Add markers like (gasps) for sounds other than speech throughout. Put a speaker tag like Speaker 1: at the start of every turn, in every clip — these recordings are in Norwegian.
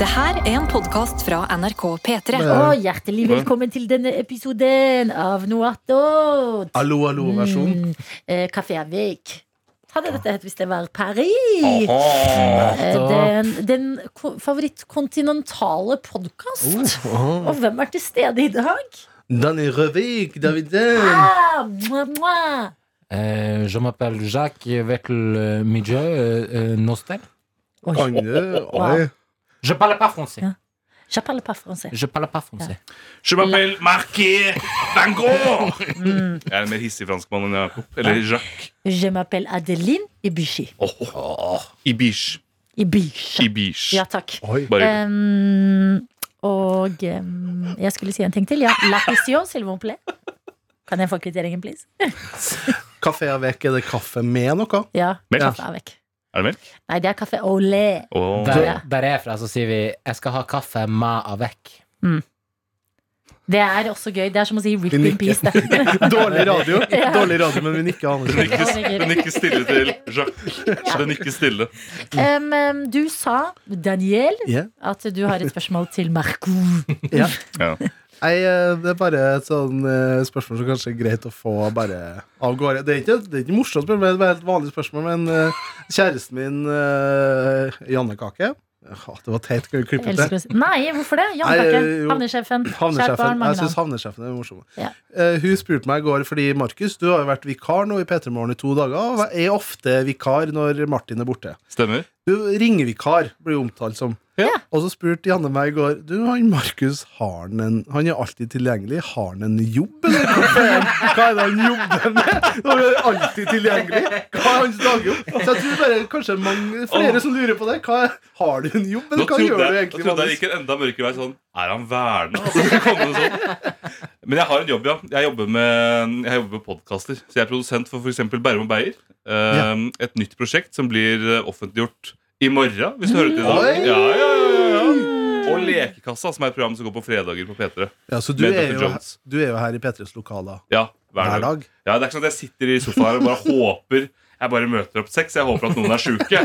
Speaker 1: Det her er en podkast fra NRK P3.
Speaker 2: Og hjertelig velkommen til denne episoden av Noato.
Speaker 3: Allo, allo-versjon.
Speaker 2: Eh, Café Avik. Hadde dette hett hvis det var Paris. Eh, Den, den ko- favorittkontinentale podkast.
Speaker 3: Oh.
Speaker 2: Og hvem er til stede i dag?
Speaker 3: Danny Røvik, Daviden.
Speaker 2: Ah, mwah, mwah.
Speaker 4: Euh, je m'appelle Jacques avec le milieu euh, euh, nostal.
Speaker 2: Oi.
Speaker 3: Agne.
Speaker 2: Wow.
Speaker 3: Oi.
Speaker 4: Je parle pas français.
Speaker 2: Je parle pas français.
Speaker 4: Je parle pas français.
Speaker 5: Je m'appelle Marqué Dango! (laughs) Jeg er en mer hissig franskmann enn Jakob. Eller Jacques.
Speaker 2: Je m'appelle Adeline Ibishi.
Speaker 5: Ibish.
Speaker 2: Ibishi.
Speaker 5: Ibish.
Speaker 2: Ja, takk.
Speaker 3: Oi.
Speaker 5: Bare hyggelig.
Speaker 2: Um, og um, jeg skulle si en ting til. Ja. La question, s'il vous plaît. Kan jeg få kvitteringen, please?
Speaker 3: Kaffe er vekk. Er det kaffe med noe?
Speaker 2: Ja.
Speaker 5: Melk?
Speaker 2: Kaffe er vekk.
Speaker 5: Er det melk?
Speaker 2: Nei, det er kaffe au lait.
Speaker 5: Åh.
Speaker 4: Der,
Speaker 2: Ja.
Speaker 4: der er jeg fra, så sier vi 'jeg skal ha kaffe med avec'.
Speaker 2: Det er også gøy. Det er som å si rip in
Speaker 3: Unikke.
Speaker 2: peace.
Speaker 3: (laughs)
Speaker 2: Det.
Speaker 3: Dårlig radio,
Speaker 2: (laughs)
Speaker 3: Dårlig radio men vi nikker
Speaker 5: Den
Speaker 3: anerkjennende.
Speaker 5: nikker, den nikker stille til Jacques. Den nikker stille.
Speaker 2: Um, um, du sa, Daniel,
Speaker 3: (laughs) Ja.
Speaker 2: at du har et spørsmål til Marco.
Speaker 3: Ja.
Speaker 5: Ja.
Speaker 3: Nei, eh, det er bare et sånn eh, spørsmål som kanskje er greit å få bare av gårde. Det er ikke, det er ikke morsomt spørsmål, det er et bare helt vanlig spørsmål, men eh, kjæresten min, eh, Janne Kake Ja, Det var teit, skal vi klippe ut det?
Speaker 2: Elsker å si- Nei, hvorfor det? Jan
Speaker 3: Nei, eh,
Speaker 2: Kake,
Speaker 3: jo.
Speaker 2: havnesjefen. Kjært barn,
Speaker 3: Havnesjefen.
Speaker 2: mange
Speaker 3: Jeg syns
Speaker 2: navn.
Speaker 3: havnesjefen er morsom.
Speaker 2: Ja.
Speaker 3: Eh, hun spurte meg i går fordi Markus, du har jo vært vikar nå i P3 Morgen i to dager, og er ofte vikar når Martin er borte.
Speaker 5: Stemmer?
Speaker 3: Du, ringevikar blir jo omtalt som.
Speaker 5: Ja.
Speaker 3: Og så spurte Janne meg i går Du, han Markus, har han en Han er alltid tilgjengelig. Har han en jobb, eller? Hva er, han- hva er det han jobber med? Han er alltid tilgjengelig. Hva er hans dagjobb? Så jeg tror bare kanskje mange, flere som lurer på det. Hva er, har du en jobb,
Speaker 5: Nå
Speaker 3: eller hva
Speaker 5: trodde jeg,
Speaker 3: gjør du
Speaker 5: nå
Speaker 3: egentlig?
Speaker 5: trodde jeg det
Speaker 3: Magnus?
Speaker 5: gikk en enda mørkere vei. Sånn, er han verna? Altså, det kom det sånn. Men jeg har en jobb, ja. Jeg jobber med, jeg jobber med podkaster. Så jeg er produsent for f.eks. Bærum og Beyer. Eh,
Speaker 3: Ja.
Speaker 5: Et nytt prosjekt som blir eh, offentliggjort i morgen, hvis du hører til i dag.
Speaker 3: Oi!
Speaker 5: Ja, ja, ja, ja, ja. Og Lekekassa, som er et program som går på fredager på P3.
Speaker 3: Ja, så du
Speaker 5: Med
Speaker 3: er,
Speaker 5: Dr.
Speaker 3: jo,
Speaker 5: Jones.
Speaker 3: du er jo her i P3s lokaler
Speaker 5: Ja, hver
Speaker 3: hver
Speaker 5: dag.
Speaker 3: dag.
Speaker 5: Ja, det er ikke sånn at jeg sitter i sofaen her og bare håper Jeg bare møter opp seks. Jeg håper at noen er sjuke.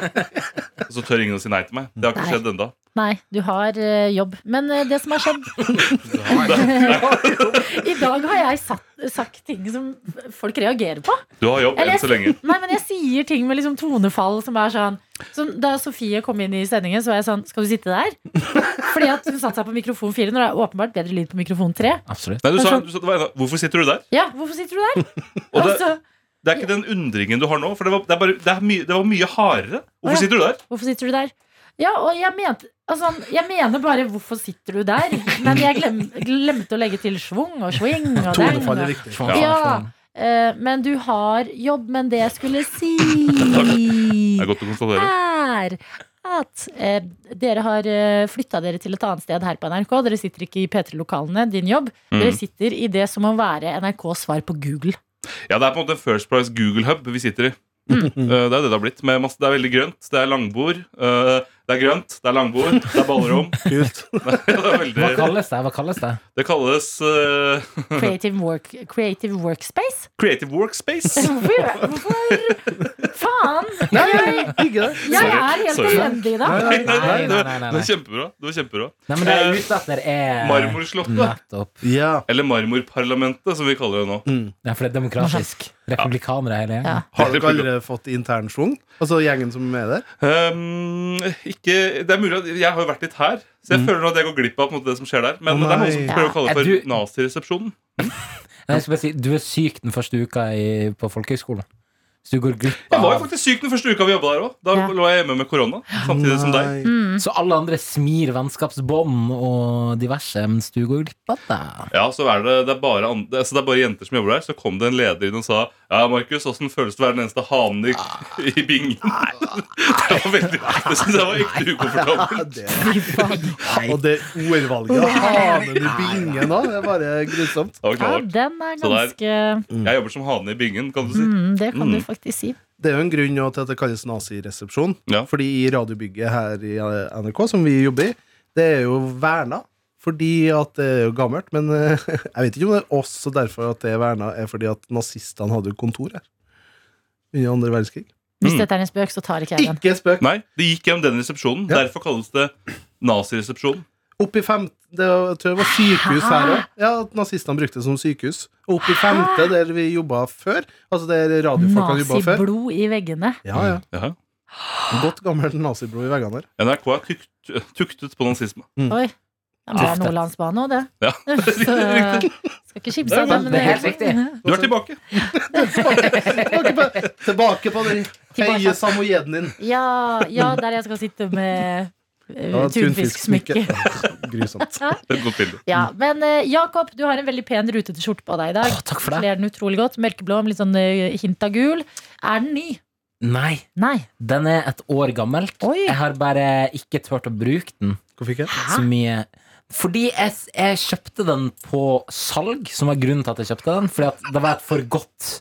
Speaker 5: Og så tør ingen å si nei til meg. Det har ikke
Speaker 2: Nei.
Speaker 5: skjedd ennå.
Speaker 2: Nei, du har eh, jobb. Men eh, det som har skjedd
Speaker 3: (laughs)
Speaker 2: (laughs) I dag har jeg satt, sagt ting som folk reagerer på.
Speaker 5: Du har jobb
Speaker 2: Eller-
Speaker 5: enn så lenge.
Speaker 2: (laughs) Nei, men jeg sier ting med liksom tonefall som er sånn som Da Sofie kom inn i sendingen, så var jeg sånn Skal du sitte
Speaker 5: (laughs)
Speaker 2: der? Fordi at hun satte seg på mikrofon fire når det er åpenbart bedre lyd på mikrofon tre.
Speaker 4: Absolutt.
Speaker 5: Nei, du sa, du sa, det var en av- Hvorfor sitter du der?
Speaker 2: Ja, hvorfor sitter du der?
Speaker 5: Og det,
Speaker 2: Altså,
Speaker 5: det er ikke den undringen du har nå. For det var, det er bare, det er mye, det var mye hardere.
Speaker 2: Å, ja.
Speaker 5: Hvorfor sitter du der?
Speaker 2: hvorfor sitter du der? Ja, og jeg mente Altså, jeg mener bare 'hvorfor sitter du der?' Men jeg glem, glemte å legge til schwung og swing og deng.
Speaker 3: Tonefall er
Speaker 2: og-
Speaker 5: (laughs)
Speaker 3: viktig.
Speaker 4: Faen, faen,
Speaker 2: Ja.
Speaker 5: sånn.
Speaker 4: faen.
Speaker 2: Eh, Men du har jobb, men det jeg skulle si
Speaker 5: (laughs) Det er godt å konstatere.
Speaker 2: er at eh, dere har eh, flytta dere til et annet sted her på NRK. Dere sitter ikke i P3-lokalene, din jobb. Dere
Speaker 5: Mm.
Speaker 2: sitter i det som må være NRKs svar på Google.
Speaker 5: Ja, Det er på en måte First Price Google Hub vi sitter i. Eh, Det er det det har blitt. Med masse, det er veldig grønt. Det er langbord. eh, Det er grønt, det er langbord, det er ballrom.
Speaker 3: Kult.
Speaker 5: (laughs) Det, er
Speaker 4: Hva
Speaker 5: veldig,
Speaker 4: kalles det? Hva kalles det?
Speaker 5: det kalles eh,
Speaker 2: Creative, work, creative workspace?
Speaker 5: Creative Workspace.
Speaker 2: Hvorfor? Hvorfor? Faen! Jeg,
Speaker 3: (laughs) Digger det.
Speaker 2: jeg
Speaker 5: Sorry,
Speaker 2: er helt
Speaker 5: sorry.
Speaker 2: elendig i dag.
Speaker 3: Nei, nei.
Speaker 5: Nei, nei,
Speaker 4: Nei, nei, nei, nei,
Speaker 5: Det
Speaker 4: nei.
Speaker 5: var kjempebra. Det var kjempebra.
Speaker 4: Nei, men det
Speaker 5: Eh,
Speaker 4: jeg er ute etter, er
Speaker 5: Marmorslottet.
Speaker 4: Nettopp.
Speaker 3: Ja.
Speaker 5: Eller Marmorparlamentet, som vi kaller det nå.
Speaker 4: Ja, for det
Speaker 2: (laughs)
Speaker 4: er demokratisk. Republikanere
Speaker 2: Ja.
Speaker 4: hele gjengen.
Speaker 3: Har dere aldri fått intern schwung? Altså gjengen som er der?
Speaker 5: Ehm, ikke, det er mulig at Jeg har jo vært litt her, så jeg føler nå at jeg går glipp av på en måte, det som skjer der.
Speaker 3: Å,
Speaker 5: Men det er noen som
Speaker 3: nei.
Speaker 5: prøver å
Speaker 4: Ja.
Speaker 5: kalle
Speaker 4: Er
Speaker 5: det
Speaker 4: du-
Speaker 5: for naziresepsjonen.
Speaker 4: Nei, jeg skal bare si, du er syk den første uka i, på folkehøgskolen. Så du går glipp
Speaker 5: Jeg var jo
Speaker 4: av
Speaker 5: faktisk syk den første uka vi jobba der òg. Da
Speaker 2: Ja.
Speaker 5: lå jeg hjemme med korona. Samtidig som deg.
Speaker 3: Nei.
Speaker 4: Så alle andre smir vennskapsbånd og diverse, mens du går glipp av det.
Speaker 5: Ja, så er det, det, er bare an- det, altså det er bare jenter som jobber der. Så kom det en leder inn og sa Ja, Markus, åssen føles det å være den eneste hanen i,
Speaker 2: Ah.
Speaker 5: i bingen? (laughs) Det var veldig Det syns jeg var ekte
Speaker 3: Ja,
Speaker 5: ukomfortabelt.
Speaker 3: det.
Speaker 2: Fy faen.
Speaker 3: Og det ordvalget av hanen i bingen da, det er bare grusomt.
Speaker 5: Det var
Speaker 2: Ja,
Speaker 5: knallhardt.
Speaker 2: den er
Speaker 5: Så der-
Speaker 2: ganske
Speaker 5: Jeg jobber som hane i bingen, kan du si.
Speaker 2: mm, Det kan
Speaker 5: Mm.
Speaker 2: du faktisk si.
Speaker 3: Det er jo en grunn nå til at det kalles naziresepsjon.
Speaker 5: Ja.
Speaker 3: Fordi i radiobygget her i eh, NRK, som vi jobber i, det er jo verna. Fordi at det er jo gammelt, men eh, (laughs) jeg vet ikke om det er oss og derfor at det er verna, er fordi at nazistene hadde jo kontor her under andre verdenskrig.
Speaker 2: Hvis
Speaker 5: Mm.
Speaker 2: dette er en spøk, så tar ikke jeg den.
Speaker 3: Ikke spøk!
Speaker 5: Nei, det gikk gjennom den resepsjonen.
Speaker 3: Ja.
Speaker 5: Derfor kalles det Naziresepsjon.
Speaker 3: Opp i femte det, var- Jeg tror det var sykehus her òg. Ja, at nazistene brukte det som sykehus. Og opp i femte, der vi jobba før. Altså der radiofolkene jobba før.
Speaker 2: Naziblod i veggene.
Speaker 3: Ja, ja.
Speaker 5: Ja.
Speaker 3: Godt gammelt naziblod i veggene der.
Speaker 5: NRK er tukt, tuktet på nazisme.
Speaker 2: Oi. Ja, men det er Nordlandsbane òg, det.
Speaker 5: Ja.
Speaker 2: (laughs) Så eh, skal ikke kimse av det. men
Speaker 4: Det er helt riktig.
Speaker 5: Du er tilbake.
Speaker 3: Tilbake på, tilbake på den
Speaker 2: Tilbake.
Speaker 3: høye samojeden din.
Speaker 2: Ja, ja, der jeg skal sitte med uh, (laughs) tunfisksmykke.
Speaker 3: Grusomt.
Speaker 5: Det er et godt bilde.
Speaker 2: Ja, men eh, Jakob, du har en veldig pen rutete skjorte på deg i dag.
Speaker 4: Å, takk for det.
Speaker 2: Kler den utrolig godt. Mørkeblå med litt sånn eh, hint av gul. Er den ny?
Speaker 4: Nei,
Speaker 2: Nei.
Speaker 4: den er et år gammel.
Speaker 2: Oi.
Speaker 4: Jeg har bare ikke turt å bruke den
Speaker 3: Hvorfor ikke?
Speaker 4: så mye. Fordi jeg, s- jeg kjøpte den på salg, som var grunnen til at jeg kjøpte den. Fordi at det var et for godt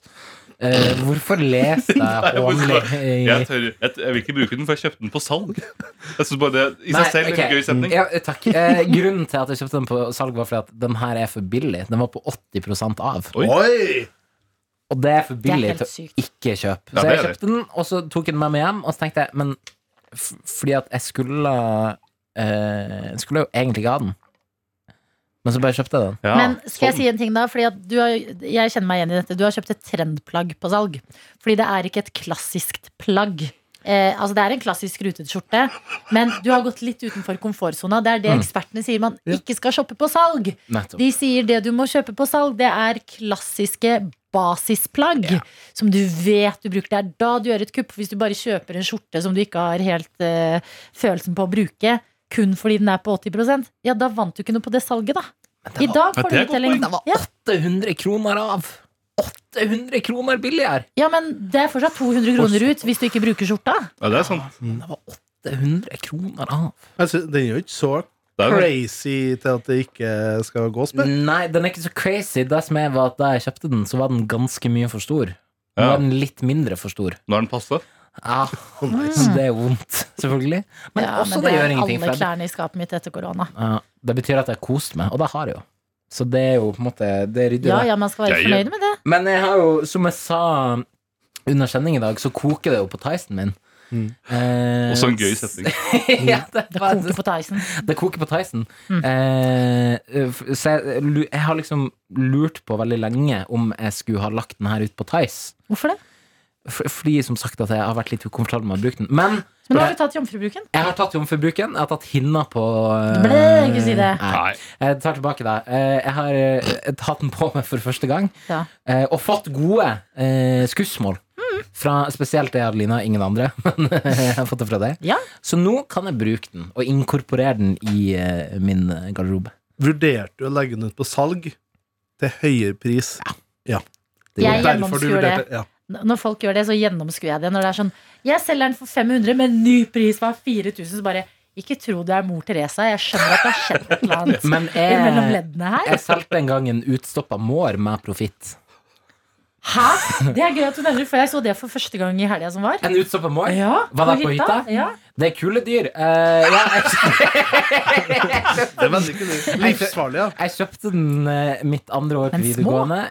Speaker 4: Eh, Hvorfor
Speaker 5: (laughs)
Speaker 4: leste jeg
Speaker 5: Jeg,
Speaker 4: hånlig
Speaker 5: tør, jeg, jeg vil ikke bruke den, for jeg kjøpte den på salg. (laughs) Jeg synes bare det I
Speaker 4: Nei,
Speaker 5: seg selv er det
Speaker 4: ok.
Speaker 5: en gøy setning.
Speaker 4: Ja, takk. Eh, grunnen til at jeg kjøpte den på salg, var fordi at den her er for billig. Den var på 80 av.
Speaker 5: Oi.
Speaker 3: Oi!
Speaker 4: Og det er for
Speaker 2: er
Speaker 4: billig
Speaker 2: helt
Speaker 4: til å
Speaker 2: sykt.
Speaker 4: ikke kjøpe.
Speaker 5: Ja, det
Speaker 4: Så jeg
Speaker 5: er det.
Speaker 4: kjøpte den, og så tok jeg den med meg hjem, og så tenkte jeg Men f fordi at jeg skulle eh, Skulle jo egentlig ikke ha den. Men så bare kjøpte jeg den.
Speaker 5: Ja,
Speaker 2: Men skal jeg
Speaker 5: sånn.
Speaker 2: si en ting, da? Fordi at du har, jeg kjenner meg igjen i dette. Du har kjøpt et trendplagg på salg. Fordi det er ikke et klassisk plagg. Eh, altså Det er en klassisk rutet skjorte, men du har gått litt utenfor komfortsona. Det er
Speaker 4: Mm.
Speaker 2: det ekspertene sier man ikke skal shoppe på salg.
Speaker 4: Nettopp.
Speaker 2: De sier det du må kjøpe på salg, det er klassiske basisplagg som du vet du bruker. Det er da du gjør et kupp. Hvis du bare kjøper en skjorte som du ikke har helt eh, følelsen på å bruke, kun fordi den er på 80 ja, da vant du ikke noe på det salget, da. I dag
Speaker 5: Ja,
Speaker 2: får
Speaker 5: det
Speaker 2: du
Speaker 5: er et godt
Speaker 2: uttelling.
Speaker 4: Den var
Speaker 2: Ja.
Speaker 4: 800 kroner av! 800 kroner billigere!
Speaker 2: ja, men det er fortsatt 200 kroner ut hvis du ikke bruker skjorta.
Speaker 5: ja, det er sånn. sant.
Speaker 4: Den var 800 kroner av.
Speaker 3: Jeg synes, den er jo ikke så
Speaker 5: Det er,
Speaker 3: crazy til at det ikke skal gås med.
Speaker 4: Nei, den er ikke så crazy. Det som er var at Da jeg kjøpte den, så var den ganske mye for stor. Nå
Speaker 5: Ja.
Speaker 4: er den litt mindre
Speaker 5: (laughs)
Speaker 4: for stor.
Speaker 5: nå er den passe.
Speaker 4: Ja, Så det er jo vondt, selvfølgelig. Men
Speaker 2: Ja,
Speaker 4: også
Speaker 2: men
Speaker 4: det
Speaker 2: er
Speaker 4: gjør ingenting. for
Speaker 2: Alle
Speaker 4: jeg-
Speaker 2: klærne i skapet mitt etter korona.
Speaker 4: Ja, Eh, det betyr at jeg har kost meg, og det har jeg jo. Så det er jo på en måte Det rydder
Speaker 2: Ja,
Speaker 4: det.
Speaker 2: ja, man skal være
Speaker 5: Jeg-
Speaker 2: fornøyd med det.
Speaker 4: Men jeg har jo, som jeg sa under sending i dag, så koker det jo på Tyson min.
Speaker 3: Mm.
Speaker 4: Eh,
Speaker 5: Også en sånn gøy setning.
Speaker 4: (laughs) ja, det,
Speaker 2: Det
Speaker 4: var-
Speaker 2: koker på Tyson.
Speaker 4: det koker på Tyson.
Speaker 2: Mm.
Speaker 4: Eh, f- så jeg, lu- jeg har liksom lurt på veldig lenge om jeg skulle ha lagt den her ut på Tice.
Speaker 2: Hvorfor det?
Speaker 4: F- Fordi som sagt at jeg har vært litt ukomfortabel med å bruke den. Men
Speaker 2: Men nå har du tatt jomfrubruken.
Speaker 4: jeg har tatt jomfrubruken. Jeg har tatt hinna på eh,
Speaker 2: Du ble ikke si det.
Speaker 4: Nei.
Speaker 5: Nei.
Speaker 4: Jeg tar tilbake det. Eh, Jeg har eh, tatt den på meg for første gang,
Speaker 2: Ja. Mm.
Speaker 4: eh, og fått gode eh, skussmål. Fra spesielt det Adelina, ingen andre. (laughs) Men eh, jeg har fått det fra deg.
Speaker 2: Ja.
Speaker 4: Så nå kan jeg bruke den, og inkorporere den i eh, min garderobe.
Speaker 3: Vurderte du å legge den ut på salg til høyere pris?
Speaker 4: Det
Speaker 2: Jeg
Speaker 4: gjør jeg.
Speaker 2: gjennomskuer det.
Speaker 3: Ja.
Speaker 2: Når folk gjør det, så gjennomskuer jeg det. Når det er sånn Jeg selger den for 500, men ny pris var 4000. Så bare Ikke tro du er mor Teresa. Jeg skjønner at det har skjedd et eller annet
Speaker 4: (laughs)
Speaker 2: (laughs)
Speaker 4: Men
Speaker 2: mellom
Speaker 4: jeg,
Speaker 2: leddene her.
Speaker 4: jeg solgte en gang en utstoppa mår med profitt.
Speaker 2: Hæ? Det er gøy at du nevner det, for jeg så det for første gang i helga som var.
Speaker 4: En utstoppa mår?
Speaker 2: Ja,
Speaker 4: Var det på hytta?
Speaker 2: Ja.
Speaker 4: Det er kule dyr. Eh, ja, jeg,
Speaker 3: Det er veldig kult. Livsfarlig, ja.
Speaker 4: jeg kjøpte den eh, mitt andre år på
Speaker 2: Men små?
Speaker 4: videregående.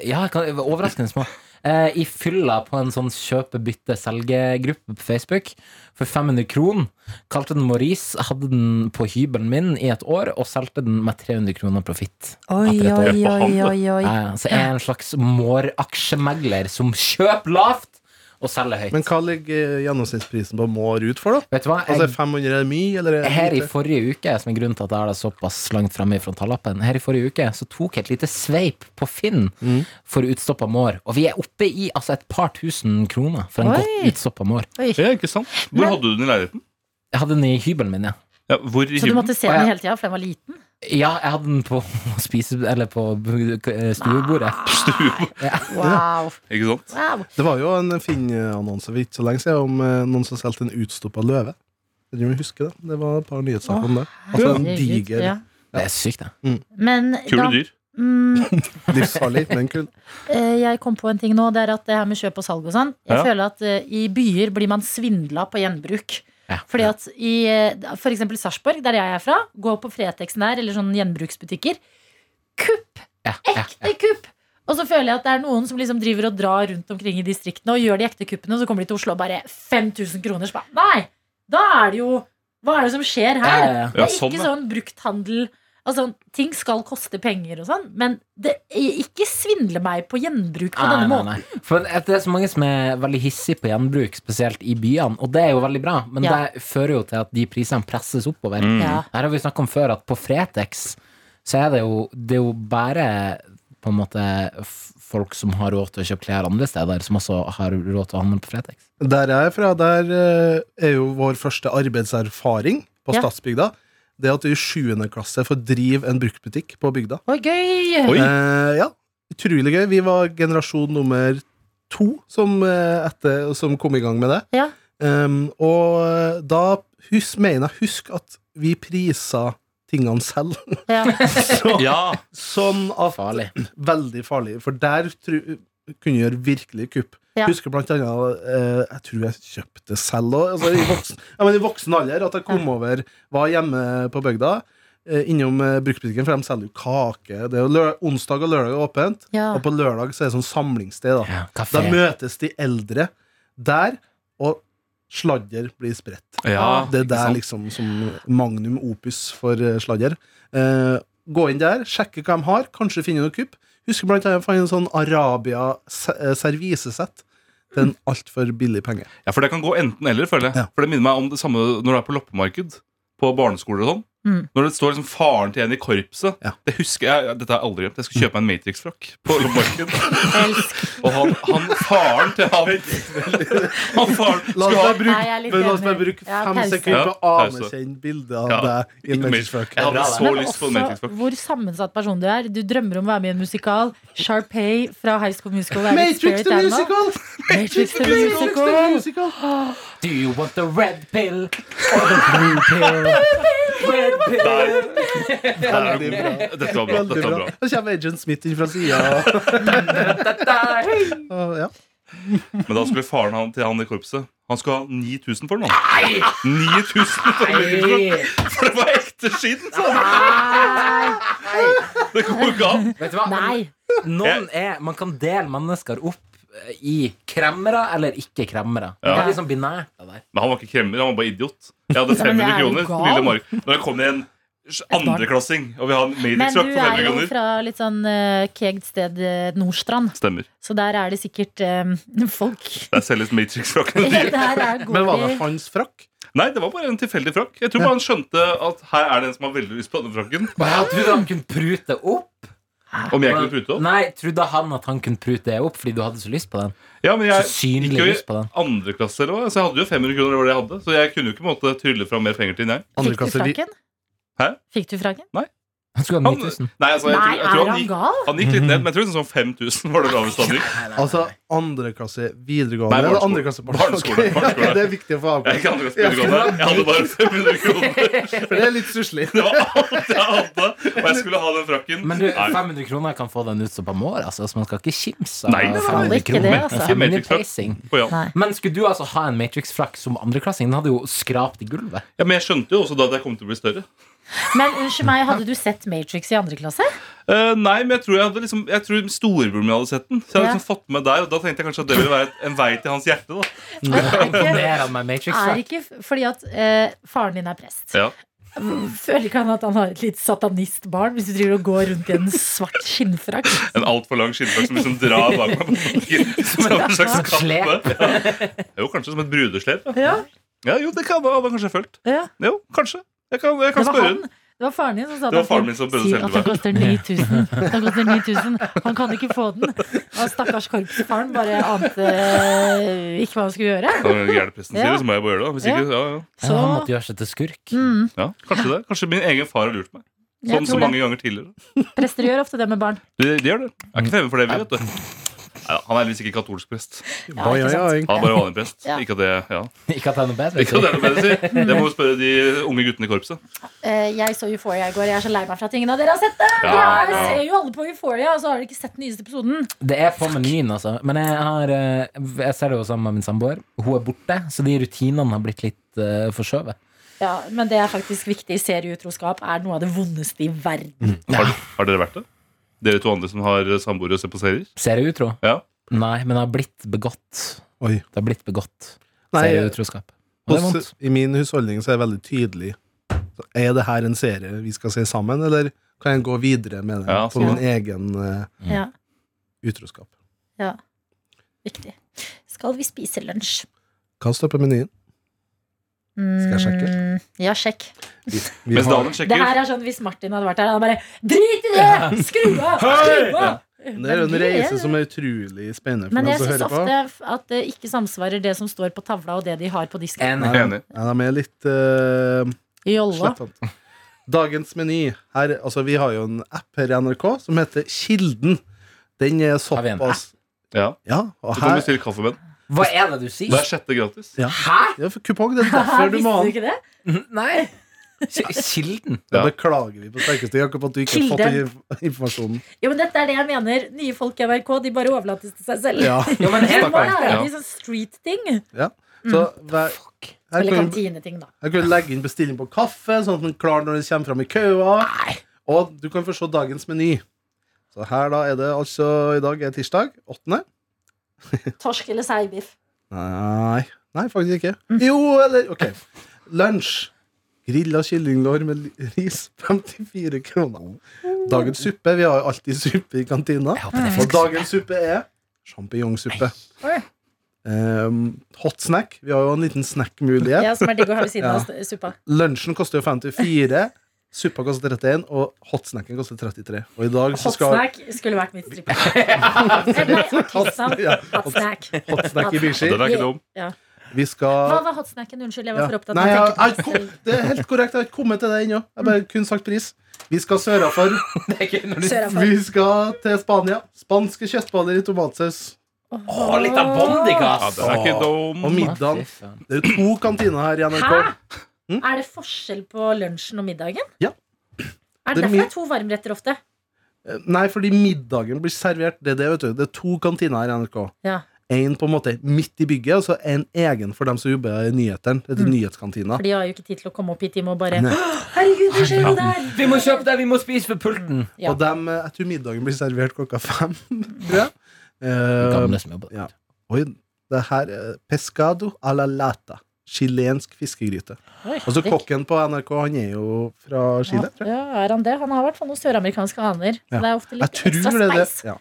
Speaker 4: Ja, jeg kan- overraskende små. Eh, I fylla på en sånn kjøpe-bytte-selge-gruppe på Facebook for 500 kron. Kalte den Maurice, hadde den på hybelen min i et år og solgte den med 300 kroner profitt.
Speaker 2: Oi,
Speaker 4: etter et år.
Speaker 2: oi, oi, oi, oi.
Speaker 4: Eh, Så jeg er en slags måraksjemegler som kjøper lavt og selger høyt.
Speaker 3: Men hva ligger eh, gjennomsnittsprisen på Mår ut for, da?
Speaker 4: Vet du hva?
Speaker 3: Altså
Speaker 4: Jeg,
Speaker 3: 500 er mye, eller? er det
Speaker 4: her i
Speaker 3: lite?
Speaker 4: forrige uke, som er grunnen til at jeg har det såpass langt fremme i frontallappen, her i forrige uke så tok jeg et lite sveip på Finn for utstoppa mår. Og vi er oppe i altså et par tusen kroner for en
Speaker 2: Oi.
Speaker 4: godt utstoppa mår.
Speaker 5: Ja, ikke sant? Hvor hadde du den i leiligheten?
Speaker 4: Jeg hadde den i hybelen min, ja.
Speaker 5: Ja, hvor
Speaker 2: Så
Speaker 5: i
Speaker 2: du
Speaker 5: hybelen?
Speaker 2: måtte se den hele tida, for den var liten?
Speaker 4: Ja, jeg hadde den på (laughs) spise... Eller på eh, stuebordet.
Speaker 2: Ah. Wow.
Speaker 5: Ikke sant?
Speaker 2: wow.
Speaker 3: Det var jo en Finn-annonse for ikke så lenge siden om eh, noen som solgte en utstoppa løve. Jeg tror jeg husker det. Det var et par nyhetssaker om det. Altså en
Speaker 2: Herregud,
Speaker 3: diger,
Speaker 2: ja. (laughs)
Speaker 4: Det er sykt, det.
Speaker 2: Men
Speaker 5: Kule
Speaker 2: da-
Speaker 5: dyr.
Speaker 2: Mm,
Speaker 3: livsfarlig, men kul.
Speaker 2: Eh, Jeg kom på en ting nå, det er at det her med kjøp og salg og sånn. Jeg
Speaker 5: Ja.
Speaker 2: føler at eh, i byer blir man svindla på gjenbruk.
Speaker 4: Ja.
Speaker 2: Fordi at i eh, for eksempel Sarpsborg, der jeg er fra, gå på Fretex der, eller sånne gjenbruksbutikker. Kupp!
Speaker 4: Ja, ja, ja.
Speaker 2: Ekte kupp! Og så føler jeg at det er noen som liksom driver og drar rundt omkring i distriktene og gjør de ekte kuppene, og så kommer de til Oslo og bare 5000 kroner. Så bare, nei! Da er det jo Hva er det som skjer her?
Speaker 4: Ja, ja, ja.
Speaker 2: Det
Speaker 5: Ja,
Speaker 2: er
Speaker 5: sånn,
Speaker 2: ikke
Speaker 5: ja.
Speaker 2: sånn brukthandel Altså, ting skal koste penger og sånn, men det, ikke svindle meg på gjenbruk på denne måten.
Speaker 4: nei. For at det er så mange som er veldig hissige på gjenbruk, spesielt i byene, og det er jo veldig bra, men
Speaker 2: Ja.
Speaker 4: det fører jo til at de prisene presses oppover.
Speaker 2: Ja.
Speaker 4: Her har vi snakket om før at på Fretex så er det jo, det er jo bare på en måte f- folk som har råd til å kjøpe klær andre steder, som også har råd til å handle på Fretex.
Speaker 3: Der jeg er fra, der eh, er jo vår første arbeidserfaring på
Speaker 2: Ja.
Speaker 3: Stadsbygda. Det at du i 7. klasse får drive en bruktbutikk på bygda.
Speaker 2: Oi, gøy!
Speaker 5: Oi.
Speaker 3: Eh, ja, utrolig gøy. Vi var generasjon nummer to som, eh, etter, som kom i gang med det.
Speaker 2: Ja.
Speaker 3: Em, Ehm, og eh, da hus, mener jeg husk at vi prisa tingene selv. (laughs)
Speaker 2: Ja.
Speaker 3: Så,
Speaker 5: Ja,
Speaker 3: Sånn at
Speaker 4: Farlig.
Speaker 3: Veldig farlig, for der tru, kunne gjøre virkelig kupp.
Speaker 2: Ja.
Speaker 3: Husker blant annet eh, Jeg tror jeg kjøpte selv òg, altså, i, voksen- ja, men i voksen alder. At jeg kom over, var hjemme på bygda, eh, innom eh, bruktbutikken, for de selger jo kake. Det er jo lø onsdag og lørdag er åpent,
Speaker 2: Ja.
Speaker 3: og på lørdag så er det sånn samlingssted. Da.
Speaker 4: Ja,
Speaker 3: da
Speaker 4: kafé.
Speaker 3: møtes de eldre der, og sladder blir spredt.
Speaker 5: ja.
Speaker 3: Det er
Speaker 4: ikke
Speaker 3: der
Speaker 4: sant?
Speaker 3: liksom som magnum opus for eh, sladder. Eh, gå inn der, sjekke hva de har, kanskje finne noe kupp. Husker blant annet jeg fant en sånn eh, Arabia-servisesett til en altfor billig penge.
Speaker 5: Ja, for det kan gå enten eller, føler jeg.
Speaker 3: Ja.
Speaker 5: For det minner meg om det samme når du er på loppemarked. På barneskoler og sånn.
Speaker 2: Mm.
Speaker 5: Når det står liksom faren til en i korpset.
Speaker 3: Ja.
Speaker 5: Det husker jeg, Dette har jeg aldri glemt. Jeg skulle kjøpe meg en Matrix-frakk på loppemarked.
Speaker 2: Elsk.
Speaker 5: og han, han faren til han, han faren
Speaker 3: La
Speaker 5: skulle
Speaker 3: oss
Speaker 5: ha
Speaker 3: bare bruke,
Speaker 2: Nei, jeg er litt
Speaker 3: men la oss bare
Speaker 2: enig.
Speaker 3: bruke
Speaker 2: Ja,
Speaker 3: fem
Speaker 2: pause.
Speaker 3: sekunder på å
Speaker 5: Ja, pause.
Speaker 3: anerkjenne bildet av
Speaker 5: Ja.
Speaker 3: deg i en
Speaker 5: Ikke mer.
Speaker 3: Matrix-fuck.
Speaker 5: Jeg hadde så
Speaker 2: Men
Speaker 5: lyst på en
Speaker 2: også
Speaker 5: Matrix-frakk.
Speaker 2: hvor sammensatt person du er. Du drømmer om å være med i en musikal. Sharpay fra High School Musical. er ditt
Speaker 3: Matrix
Speaker 2: spirit
Speaker 3: the
Speaker 2: animal.
Speaker 3: Musical!
Speaker 2: Matrix the
Speaker 3: Matrix the
Speaker 2: Musical!
Speaker 3: Musical!
Speaker 4: Do you want the red pill or the blue
Speaker 2: (laughs)
Speaker 4: pill? Red pill.
Speaker 3: Veldig bra. Veldig
Speaker 5: Dette var bra. dette var
Speaker 3: bra.
Speaker 5: bra
Speaker 3: Så kommer Agent Smith inn fra sida. Ja.
Speaker 5: Men da skulle faren han, til han i korpset Han skulle ha 9000 for den. han. 9000 for en Matrix-frakk!
Speaker 4: Hey.
Speaker 5: For det var ekte skinn! sa han. Det går ikke an.
Speaker 4: Vet du hva?
Speaker 2: Nei.
Speaker 4: Noen er, man kan dele mennesker opp eh, i kremmere eller ikke kremmere. Det
Speaker 5: Ja.
Speaker 4: er liksom binært. det der.
Speaker 5: Men han var ikke kremmer, han var bare idiot. Jeg hadde
Speaker 2: (laughs) Ja, men det
Speaker 5: 500
Speaker 2: er jo
Speaker 5: kroner.
Speaker 2: gal.
Speaker 5: Lille Mark. Når jeg kom i en andreklassing, og vi har en
Speaker 2: Men du
Speaker 5: Matrix-frakk for
Speaker 2: er
Speaker 5: 500
Speaker 2: jo
Speaker 5: kroner.
Speaker 2: fra litt sånn eh, kegt sted, eh, Nordstrand.
Speaker 5: Stemmer.
Speaker 2: Så der er det sikkert eh, folk
Speaker 5: (laughs) Der selges
Speaker 2: (laughs)
Speaker 5: Matrix-frakkene dyre.
Speaker 2: Der er
Speaker 3: Men var det
Speaker 2: går de
Speaker 3: hans frakk?
Speaker 5: Nei, det var bare en tilfeldig frakk. Jeg tror bare han skjønte at her er det en som har veldig lyst på denne frakken.
Speaker 4: Og jeg trodde han kunne prute opp.
Speaker 5: Om jeg kunne prute opp?
Speaker 4: Nei, trodde han at han kunne prute det opp fordi du hadde så lyst på den?
Speaker 5: Ja, men
Speaker 4: Så
Speaker 5: jeg
Speaker 4: synlig
Speaker 5: gikk jo
Speaker 4: lyst på
Speaker 5: i
Speaker 4: den.
Speaker 5: andre klasse, eller hva? Så jeg hadde jo 500 kroner, det var det jeg hadde. Så jeg kunne jo ikke på en måte trylle fram mer penger til nei.
Speaker 2: Fikk du
Speaker 3: Andreklasse- vi-
Speaker 2: frakken?
Speaker 5: Hæ?
Speaker 2: Fikk du frakken?
Speaker 4: Han skulle ha
Speaker 5: Han,
Speaker 4: 9000.
Speaker 5: nei, altså, jeg,
Speaker 2: Nei,
Speaker 5: tror, jeg tror
Speaker 2: er
Speaker 5: han
Speaker 2: han
Speaker 5: gikk,
Speaker 2: gal?
Speaker 5: han gikk litt ned, men jeg tror sånn
Speaker 2: (laughs)
Speaker 5: 5000 var det laveste han gikk.
Speaker 3: Altså andre klasse videregående
Speaker 5: Nei,
Speaker 3: eller
Speaker 5: barneskole.
Speaker 3: andre klasse
Speaker 5: Barneskole,
Speaker 3: Ok,
Speaker 5: barneskole.
Speaker 3: Det er viktig å få
Speaker 5: Jeg gikk
Speaker 3: avklart,
Speaker 5: andre klasse videregående. Jeg hadde
Speaker 2: (laughs)
Speaker 5: bare 500 kroner.
Speaker 3: for det er litt stusslig.
Speaker 5: (laughs) Det var alt jeg hadde, og jeg skulle ha den frakken.
Speaker 4: Men du,
Speaker 5: Nei.
Speaker 4: 500 kroner kan få den ut som på mår, altså, så man skal ikke kimse
Speaker 5: Nei,
Speaker 4: av
Speaker 5: det var
Speaker 4: 500
Speaker 2: ikke det,
Speaker 4: kroner.
Speaker 2: altså.
Speaker 5: Ikke Matrix, da.
Speaker 4: 500 pacing.
Speaker 5: Å, ja.
Speaker 2: Nei.
Speaker 4: Men skulle du altså ha en Matrix-frakk som andreklassing? Den hadde jo skrapt i gulvet.
Speaker 5: ja, Men jeg skjønte jo også da at jeg kom til å bli større.
Speaker 2: Men unnskyld meg, hadde du sett Matrix i andre klasse?
Speaker 5: Eh, nei, men jeg tror, jeg hadde liksom, jeg tror storebroren min hadde sett den. Så jeg hadde
Speaker 2: Ja.
Speaker 5: liksom fått med der, og da tenkte jeg kanskje at det ville være et- en vei til hans hjerte. da
Speaker 4: Imponerende med
Speaker 2: Er
Speaker 4: Matrix-frakk.
Speaker 2: ikke f- fordi at eh, faren din er prest.
Speaker 5: Ja,
Speaker 2: Føler ikke han at han har et litt satanistbarn hvis du driver og går rundt i en svart skinnfrakk?
Speaker 5: En altfor lang skinnfrakk som liksom drar bak meg. på bakken, Som en slags
Speaker 4: slags slep.
Speaker 5: kappe. Ja. Jo, kanskje som et brudeslep. Ja.
Speaker 2: (laughs) Ja,
Speaker 5: Ja, jo, det kan det hadde han kanskje følt.
Speaker 2: ja.
Speaker 5: Jo, kanskje. Jeg kan,
Speaker 2: Det
Speaker 5: jeg kan
Speaker 2: var
Speaker 5: spørre
Speaker 2: han.
Speaker 5: hun.
Speaker 2: Det var faren din som sa
Speaker 5: Det var
Speaker 2: at
Speaker 5: faren
Speaker 2: han
Speaker 5: min som prøvde å
Speaker 2: sier
Speaker 5: selge
Speaker 2: at den
Speaker 5: meg.
Speaker 2: koster 9000. Den koster 9000. Han kan ikke få den. Og stakkars korpsfaren bare ante eh, ikke hva han skulle gjøre.
Speaker 5: Når den gærne presten sier
Speaker 2: Ja.
Speaker 5: det, så må jeg bare gjøre det. da. Hvis
Speaker 2: Ja.
Speaker 5: ikke, ja, ja.
Speaker 4: Ja,
Speaker 2: Så
Speaker 4: han måtte gjøre seg til skurk.
Speaker 2: mm,
Speaker 5: ja, Kanskje det. Kanskje min egen far har lurt meg.
Speaker 2: jeg
Speaker 5: Sånn Som så
Speaker 2: tror
Speaker 5: mange ganger tidligere.
Speaker 2: det. Prester gjør ofte det med barn.
Speaker 5: De, de gjør det. Jeg er ikke fremmed for det, vi, vet du. Neida, han er heldigvis ikke katolsk prest.
Speaker 2: Ja, ikke sant?
Speaker 5: Han er bare vanlig prest.
Speaker 2: Ja.
Speaker 5: Ikke at det, ja.
Speaker 4: Ikke at det er noe bedre.
Speaker 5: ikke at det er noe bedre å si. Det må vi spørre de unge guttene i korpset.
Speaker 2: Eh, jeg så Euphoria i går. Jeg er så lei meg for at ingen av dere har sett det!
Speaker 5: Ja,
Speaker 2: jeg
Speaker 5: ja.
Speaker 2: ser jo alle på Euphoria, og så har dere ikke sett den nyeste episoden.
Speaker 4: Det er på menyen, altså. Men jeg, har, eh, jeg ser det jo sammen med min samboer. Hun er borte, så de rutinene har blitt litt eh, forskjøvet.
Speaker 2: Ja, Men det er faktisk viktig. Serieutroskap er noe av det vondeste i verden.
Speaker 5: Har, har dere vært det? Dere to andre som har samboere og ser på serier?
Speaker 4: Ser jeg utro?
Speaker 5: Ja.
Speaker 4: Nei, men det har blitt begått.
Speaker 3: Oi.
Speaker 4: Det har blitt begått.
Speaker 3: Nei, eh,
Speaker 4: Ser jeg utroskap. Og det er vondt.
Speaker 3: Hos, I min husholdning så er det veldig tydelig. Så er det her en serie vi skal se sammen, eller kan jeg gå videre med den
Speaker 5: Ja,
Speaker 3: på
Speaker 5: sånn.
Speaker 3: min egen eh,
Speaker 2: Ja,
Speaker 3: utroskap?
Speaker 2: ja. Viktig. Skal vi spise lunsj?
Speaker 3: Hva står på menyen? Skal jeg sjekke?
Speaker 2: Mm, Ja, sjekk.
Speaker 3: Vi, vi
Speaker 5: Mens
Speaker 3: har,
Speaker 5: Daniel
Speaker 2: Det
Speaker 5: sjekker.
Speaker 2: her er sånn hvis Martin hadde vært her. Han bare Drit i det! Skru av! Skru av!
Speaker 3: det er jo en reise som er utrolig spennende for
Speaker 2: Men
Speaker 3: dem
Speaker 2: jeg
Speaker 3: som
Speaker 2: syns
Speaker 3: hører på.
Speaker 2: ofte at det ikke samsvarer det som står på tavla, og det de har på disken.
Speaker 4: En,
Speaker 5: Enig.
Speaker 3: Ja, de er litt eh,
Speaker 2: Jolla.
Speaker 3: slettete. Dagens meny. Her, altså, vi har jo en app her i NRK som heter Kilden. Den er
Speaker 4: Har vi en
Speaker 3: såpass
Speaker 5: Ja.
Speaker 3: Ja, og
Speaker 5: Du kan
Speaker 3: her
Speaker 5: bestille kaffe med den.
Speaker 4: hva er det du
Speaker 5: Det er
Speaker 4: sier?
Speaker 5: sjette gratis.
Speaker 3: ja. Ja, for kupong,
Speaker 2: (laughs)
Speaker 3: det er
Speaker 2: Hæ,
Speaker 3: derfor du må
Speaker 2: visste
Speaker 3: ha
Speaker 2: du
Speaker 3: den.
Speaker 2: ikke det?
Speaker 4: Nei. Ki- (laughs) Kilden.
Speaker 3: Da
Speaker 5: Ja.
Speaker 3: beklager vi på sterkeste, Jakob, at du ikke har fått den inf- informasjonen.
Speaker 2: Jo, men dette er det jeg mener. Nye folk i NRK, de bare overlates til seg selv.
Speaker 3: Ja.
Speaker 4: Jo, men
Speaker 2: De
Speaker 4: helt
Speaker 2: må
Speaker 4: bare-
Speaker 2: lære
Speaker 5: Ja.
Speaker 2: de sånn street-ting. Mm.
Speaker 3: Så hver,
Speaker 4: Fuck.
Speaker 3: her
Speaker 2: Eller
Speaker 3: kan du
Speaker 2: kantineting, da.
Speaker 3: her kan du legge inn bestilling på kaffe, sånn at den er klar når den kommer fram i køa. Og du kan få se dagens meny. Så her da er det altså I dag er tirsdag. Åttende.
Speaker 2: Torsk eller seibiff.
Speaker 3: Nei, nei, faktisk ikke.
Speaker 2: Mm.
Speaker 3: Jo, eller OK. Lunsj. Grilla kyllinglår med li- ris. 54 kroner. Dagens suppe. Vi har jo alltid suppe i kantina.
Speaker 4: Jeg håper det er
Speaker 3: Og
Speaker 4: fisk.
Speaker 3: dagens suppe er sjampinjongsuppe.
Speaker 2: Oi.
Speaker 3: Um, hot snack. Vi har jo en liten snackmulighet.
Speaker 2: Ja, som er digg å ha ved siden
Speaker 3: (laughs) Ja.
Speaker 2: av st- suppa.
Speaker 3: Lunsjen koster jo 54. Suppa koster 31, og hotsnacken koster 33. Og i dag så
Speaker 2: Hot
Speaker 3: skal
Speaker 2: snack skulle vært
Speaker 3: (laughs)
Speaker 2: mitt strippe. Nei, artisan.
Speaker 3: Ja,
Speaker 2: Hot snack.
Speaker 3: hot snack i
Speaker 5: Ja,
Speaker 3: Bishi.
Speaker 5: Den er ikke dum.
Speaker 3: Vi
Speaker 2: Hva
Speaker 3: skal
Speaker 2: var hot snacken? Unnskyld, jeg
Speaker 3: ja.
Speaker 2: var for opptatt
Speaker 3: Nei,
Speaker 2: av
Speaker 3: jeg,
Speaker 2: å
Speaker 3: jeg,
Speaker 2: tenke på
Speaker 3: kom-
Speaker 2: meg selv.
Speaker 3: det er helt korrekt. Jeg har ikke kommet til deg ennå. Jeg bare kun sagt pris. Vi skal sørafor.
Speaker 4: Det er ikke når du-
Speaker 2: Søra for.
Speaker 3: Vi skal til Spania. Spanske kjøttboller i tomatsaus.
Speaker 4: Å, litt av Bondigas!
Speaker 5: Ja, den er ikke dum.
Speaker 3: Og middagen
Speaker 4: Fy faen.
Speaker 3: Det er to kantiner her i
Speaker 2: Hæ?
Speaker 3: NRK.
Speaker 2: Er det forskjell på lunsjen og middagen?
Speaker 3: Ja.
Speaker 2: Er
Speaker 3: Det
Speaker 2: det
Speaker 3: er
Speaker 2: derfor det
Speaker 3: mye-
Speaker 2: er to varmretter ofte?
Speaker 3: Eh, Nei, fordi middagen blir servert. Det er det, vet du. Det er to kantiner her i NRK.
Speaker 2: Ja.
Speaker 3: En på en måte midt i bygget, og så en egen for dem som jobber i nyhetene. Dette
Speaker 2: Mm.
Speaker 3: er nyhetskantina.
Speaker 2: For de har jo ikke tid til å komme opp hit. De må bare
Speaker 3: Nei.
Speaker 2: (gasps) Herregud, det skjer jo der!
Speaker 4: Vi må kjøpe det, vi må spise ved pulten.
Speaker 2: Ja.
Speaker 3: Og dem, eh, jeg tror middagen blir servert klokka fem. (laughs) tror jeg. Eh,
Speaker 4: Gamle som jobber.
Speaker 3: ja. Oi, det her er pescado a la lata. Chilensk fiskegryte.
Speaker 2: Oi,
Speaker 3: Altså
Speaker 2: det-
Speaker 3: Kokken på NRK han er jo fra Chile. tror jeg.
Speaker 2: Ja, er han det? Han har i hvert fall noen søramerikanske aner. Så
Speaker 3: Ja.
Speaker 2: Det er ofte
Speaker 3: Jeg
Speaker 2: litt
Speaker 3: tror
Speaker 2: ekstra
Speaker 3: det er det.
Speaker 2: speis
Speaker 3: Ja.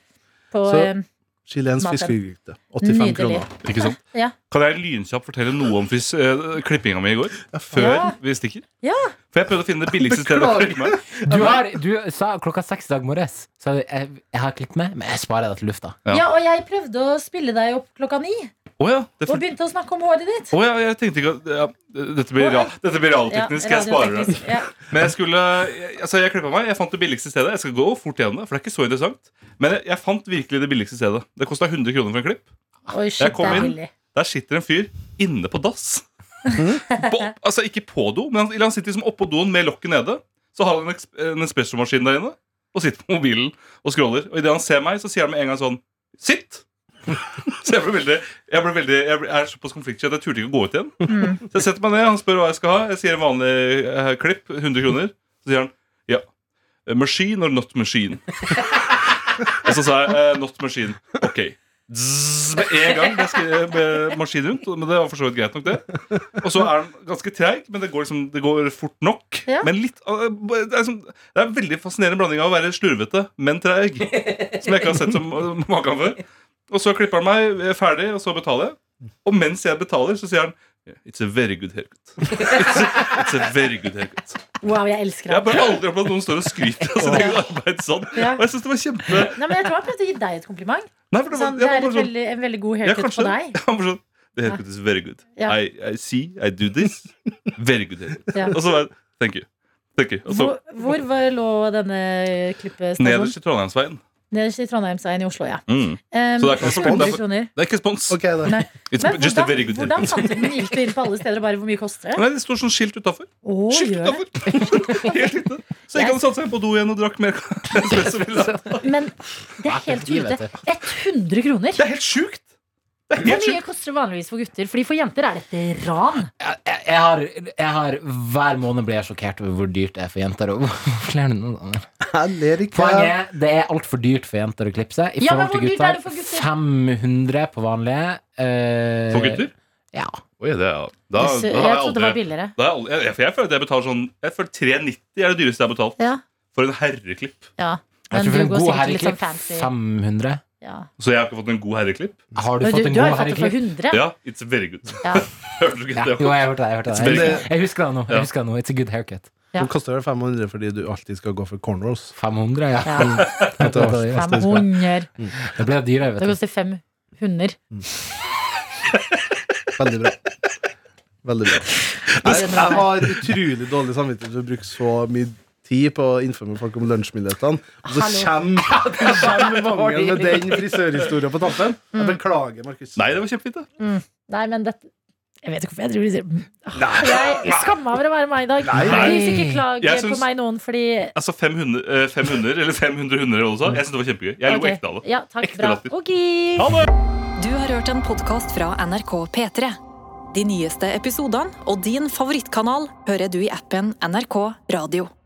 Speaker 2: på
Speaker 3: Så-
Speaker 2: eh,
Speaker 3: Chilensk
Speaker 2: Maten.
Speaker 3: fiskegryte. 85
Speaker 2: Nydelig.
Speaker 3: kroner.
Speaker 5: Ikke sant?
Speaker 2: Ja.
Speaker 5: Kan jeg lynkjapt fortelle noe om fris, eh, klippinga mi i går? Før
Speaker 2: Ja.
Speaker 5: vi stikker?
Speaker 2: Ja.
Speaker 5: For jeg prøvde å finne det billigste stedet å
Speaker 3: Beklager.
Speaker 5: klippe meg.
Speaker 4: Du, har, du sa klokka seks i dag morges, så jeg, jeg har klippet meg, men jeg sparer det til lufta.
Speaker 5: Ja.
Speaker 2: Ja, og jeg prøvde å spille deg opp klokka ni,
Speaker 5: Å ja, det
Speaker 2: og
Speaker 5: fun-
Speaker 2: begynte å snakke om håret ditt.
Speaker 5: Å ja, jeg tenkte ikke at ja, Dette blir, ra dette blir realteknisk. jeg sparer det.
Speaker 2: radioteknisk, Ja.
Speaker 5: Men jeg skulle jeg- Altså, jeg klippa meg. Jeg fant det billigste stedet. Jeg skal gå fort gjennom det, for det er ikke så interessant. Men jeg, jeg fant virkelig det billigste stedet. Det kosta 100 kroner for en klipp.
Speaker 2: Oi, shit,
Speaker 5: kom
Speaker 2: det er
Speaker 5: inn.
Speaker 2: billig.
Speaker 5: Der sitter en fyr inne på dass. På, altså ikke på do, men han, eller han sitter liksom oppå doen med lokket nede. Så har han en, eks- en espressomaskin der inne og sitter på mobilen og scroller. Og idet han ser meg, så sier han med en gang sånn Sitt! (laughs) Så jeg ble veldig Jeg, ble veldig, jeg, ble, jeg er såpass konfliktsky at jeg turte ikke å gå ut igjen. Så jeg setter meg ned, han spør hva jeg skal ha. Jeg sier en vanlig eh, klipp, 100 kroner. Så sier han ja. eh, Machine or not machine? og så sa jeg eh, not machine. Ok. Zzz, med en gang det skrev med maskin rundt. Men det var for så vidt greit nok, det. Og så er den ganske treig, men det går, liksom, det går fort nok.
Speaker 2: Ja.
Speaker 5: Men litt eh, det, er som, det er en veldig fascinerende blanding av å være slurvete, men treig. Som jeg ikke har sett som eh, maken før. Og så klipper han meg eh, ferdig, og så betaler jeg. Og mens jeg betaler, så sier han "Yeah, It's a very good haircut. It's a, it's a very good haircut.
Speaker 2: Wow, jeg elsker
Speaker 5: Jeg har
Speaker 2: ham.
Speaker 5: bare aldri opplevd at noen står og skryter av sitt eget arbeid sånn.
Speaker 2: Ja.
Speaker 5: Og jeg synes det var kjempe
Speaker 2: Nei, men jeg tror jeg prøvde å gi deg et kompliment.
Speaker 5: Nei, for det var,
Speaker 2: Sånn, det
Speaker 5: jeg var
Speaker 2: er
Speaker 5: bare
Speaker 2: et
Speaker 5: sånn
Speaker 2: veldig, en veldig god
Speaker 5: Ja,
Speaker 2: haircut
Speaker 5: kanskje
Speaker 2: på
Speaker 5: det.
Speaker 2: deg.
Speaker 5: (laughs) Jeg var bare sånn The haircut is very good.
Speaker 2: Ja.
Speaker 5: I, I see, I do this. Very good haircut.
Speaker 2: Ja.
Speaker 5: Og så var jeg Thank you. Thank you. (laughs) Og så
Speaker 2: Hvor, hvor var- lå denne klippestasjonen?
Speaker 5: nederst i Trondheimsveien.
Speaker 2: Nederst i Trondheimsveien i Oslo, ja.
Speaker 5: Mm.
Speaker 2: Um,
Speaker 5: Så det er ikke spons.
Speaker 2: 200 kroner.
Speaker 5: Det er ikke spons.
Speaker 3: Ok, da.
Speaker 2: Nei.
Speaker 5: It's
Speaker 2: Men
Speaker 5: just a very
Speaker 2: hvordan,
Speaker 5: good
Speaker 2: hvordan
Speaker 5: haircut.
Speaker 2: fant du den? Gikk du inn på alle steder og bare hvor mye koster det?
Speaker 5: (laughs) Nei, det står sånn skilt utafor.
Speaker 2: Å,
Speaker 5: Skilt
Speaker 2: gjør det.
Speaker 5: utenfor.
Speaker 2: (laughs)
Speaker 5: Helt ute. Så jeg kan satte seg på do igjen og drakk mer (laughs) espresso. Det
Speaker 2: Men det er helt tullete. 100 kroner!
Speaker 5: er helt sjukt! Det er
Speaker 2: Hvor
Speaker 5: helt
Speaker 2: mye
Speaker 5: sjukt.
Speaker 2: koster det vanligvis for gutter? Fordi for jenter er dette ran.
Speaker 4: Jeg, jeg, jeg, har, jeg har Hver måned blir jeg sjokkert over hvor dyrt det er for jenter. (laughs) Og hvorfor ler du nå, Daniel?
Speaker 3: Jeg ler ikke.
Speaker 4: Poenget er det er altfor dyrt for jenter å klippe seg. I
Speaker 2: Ja, men hvor
Speaker 4: forhold til
Speaker 2: dyrt er
Speaker 4: gutter,
Speaker 2: det for gutter?
Speaker 4: 500 på vanlige. eh,
Speaker 5: For gutter?
Speaker 4: Ja.
Speaker 5: Å Oi, det er, da, da
Speaker 2: Jeg
Speaker 5: har
Speaker 2: sy- jeg
Speaker 5: jeg
Speaker 2: trodde det var
Speaker 5: aldri
Speaker 2: billigere.
Speaker 5: da har jeg, aldri- jeg, jeg føler at jeg betaler sånn Jeg føler 390 er det dyreste jeg har betalt
Speaker 2: Ja,
Speaker 5: for en herreklipp.
Speaker 2: ja.
Speaker 4: Jeg
Speaker 2: Men
Speaker 4: tror for
Speaker 2: du
Speaker 4: en
Speaker 2: går
Speaker 4: god
Speaker 2: sikkert litt sånn
Speaker 4: herreklipp
Speaker 2: fancy.
Speaker 4: 500.
Speaker 2: Ja.
Speaker 5: Så jeg har ikke fått en god herreklipp.
Speaker 4: Har du
Speaker 2: Men
Speaker 4: fått
Speaker 2: Du,
Speaker 4: en
Speaker 2: du har jo
Speaker 4: god
Speaker 2: fått det for
Speaker 4: herreklipp?
Speaker 2: 100.
Speaker 5: Ja, it's very good.
Speaker 2: Ja.
Speaker 5: (laughs) Hørte du ikke
Speaker 4: Ja,
Speaker 5: det?
Speaker 4: jo, jeg hørte det. Jeg, hørte det.
Speaker 3: Men
Speaker 4: jeg,
Speaker 3: det-
Speaker 4: jeg husker det nå.
Speaker 5: Ja.
Speaker 4: Jeg husker det nå. It's a good haircut.
Speaker 2: Ja.
Speaker 3: Nå koster det 500 fordi du alltid skal gå for cornrows.
Speaker 4: 500, ja.
Speaker 2: Ja.
Speaker 4: Det, var det, det,
Speaker 2: 500.
Speaker 4: det ble dyrere,
Speaker 2: Det
Speaker 4: vet du.
Speaker 2: koster 500.
Speaker 3: Veldig
Speaker 2: (laughs)
Speaker 3: bra. Veldig bra. Nei, jeg har utrolig dårlig samvittighet for å bruke så mye tid på å informere folk om lunsjmulighetene, og så kommer kommer Vangen med den frisørhistorien på tampen. Jeg
Speaker 2: Mm.
Speaker 3: beklager, Markus.
Speaker 5: Nei, det var kjempefint. det.
Speaker 2: Nei, men dette jeg vet ikke hvorfor jeg driver og sier Åh, Jeg skammer meg over å være meg i dag.
Speaker 3: Nei.
Speaker 2: Please, ikke klag
Speaker 5: Jeg
Speaker 2: på
Speaker 5: syns-
Speaker 2: meg noen, fordi
Speaker 5: Altså 500, eh, 500 eller 500 hunder også. Jeg synes det var kjempegøy. Jeg lo
Speaker 2: Ok.
Speaker 5: ekte av det.
Speaker 2: Ja, takk.
Speaker 5: Ekte
Speaker 2: Bra.
Speaker 5: latter.
Speaker 2: Ok.
Speaker 5: Ha det!
Speaker 1: Du har hørt en podkast fra NRK P3. De nyeste episodene og din favorittkanal hører du i appen NRK Radio.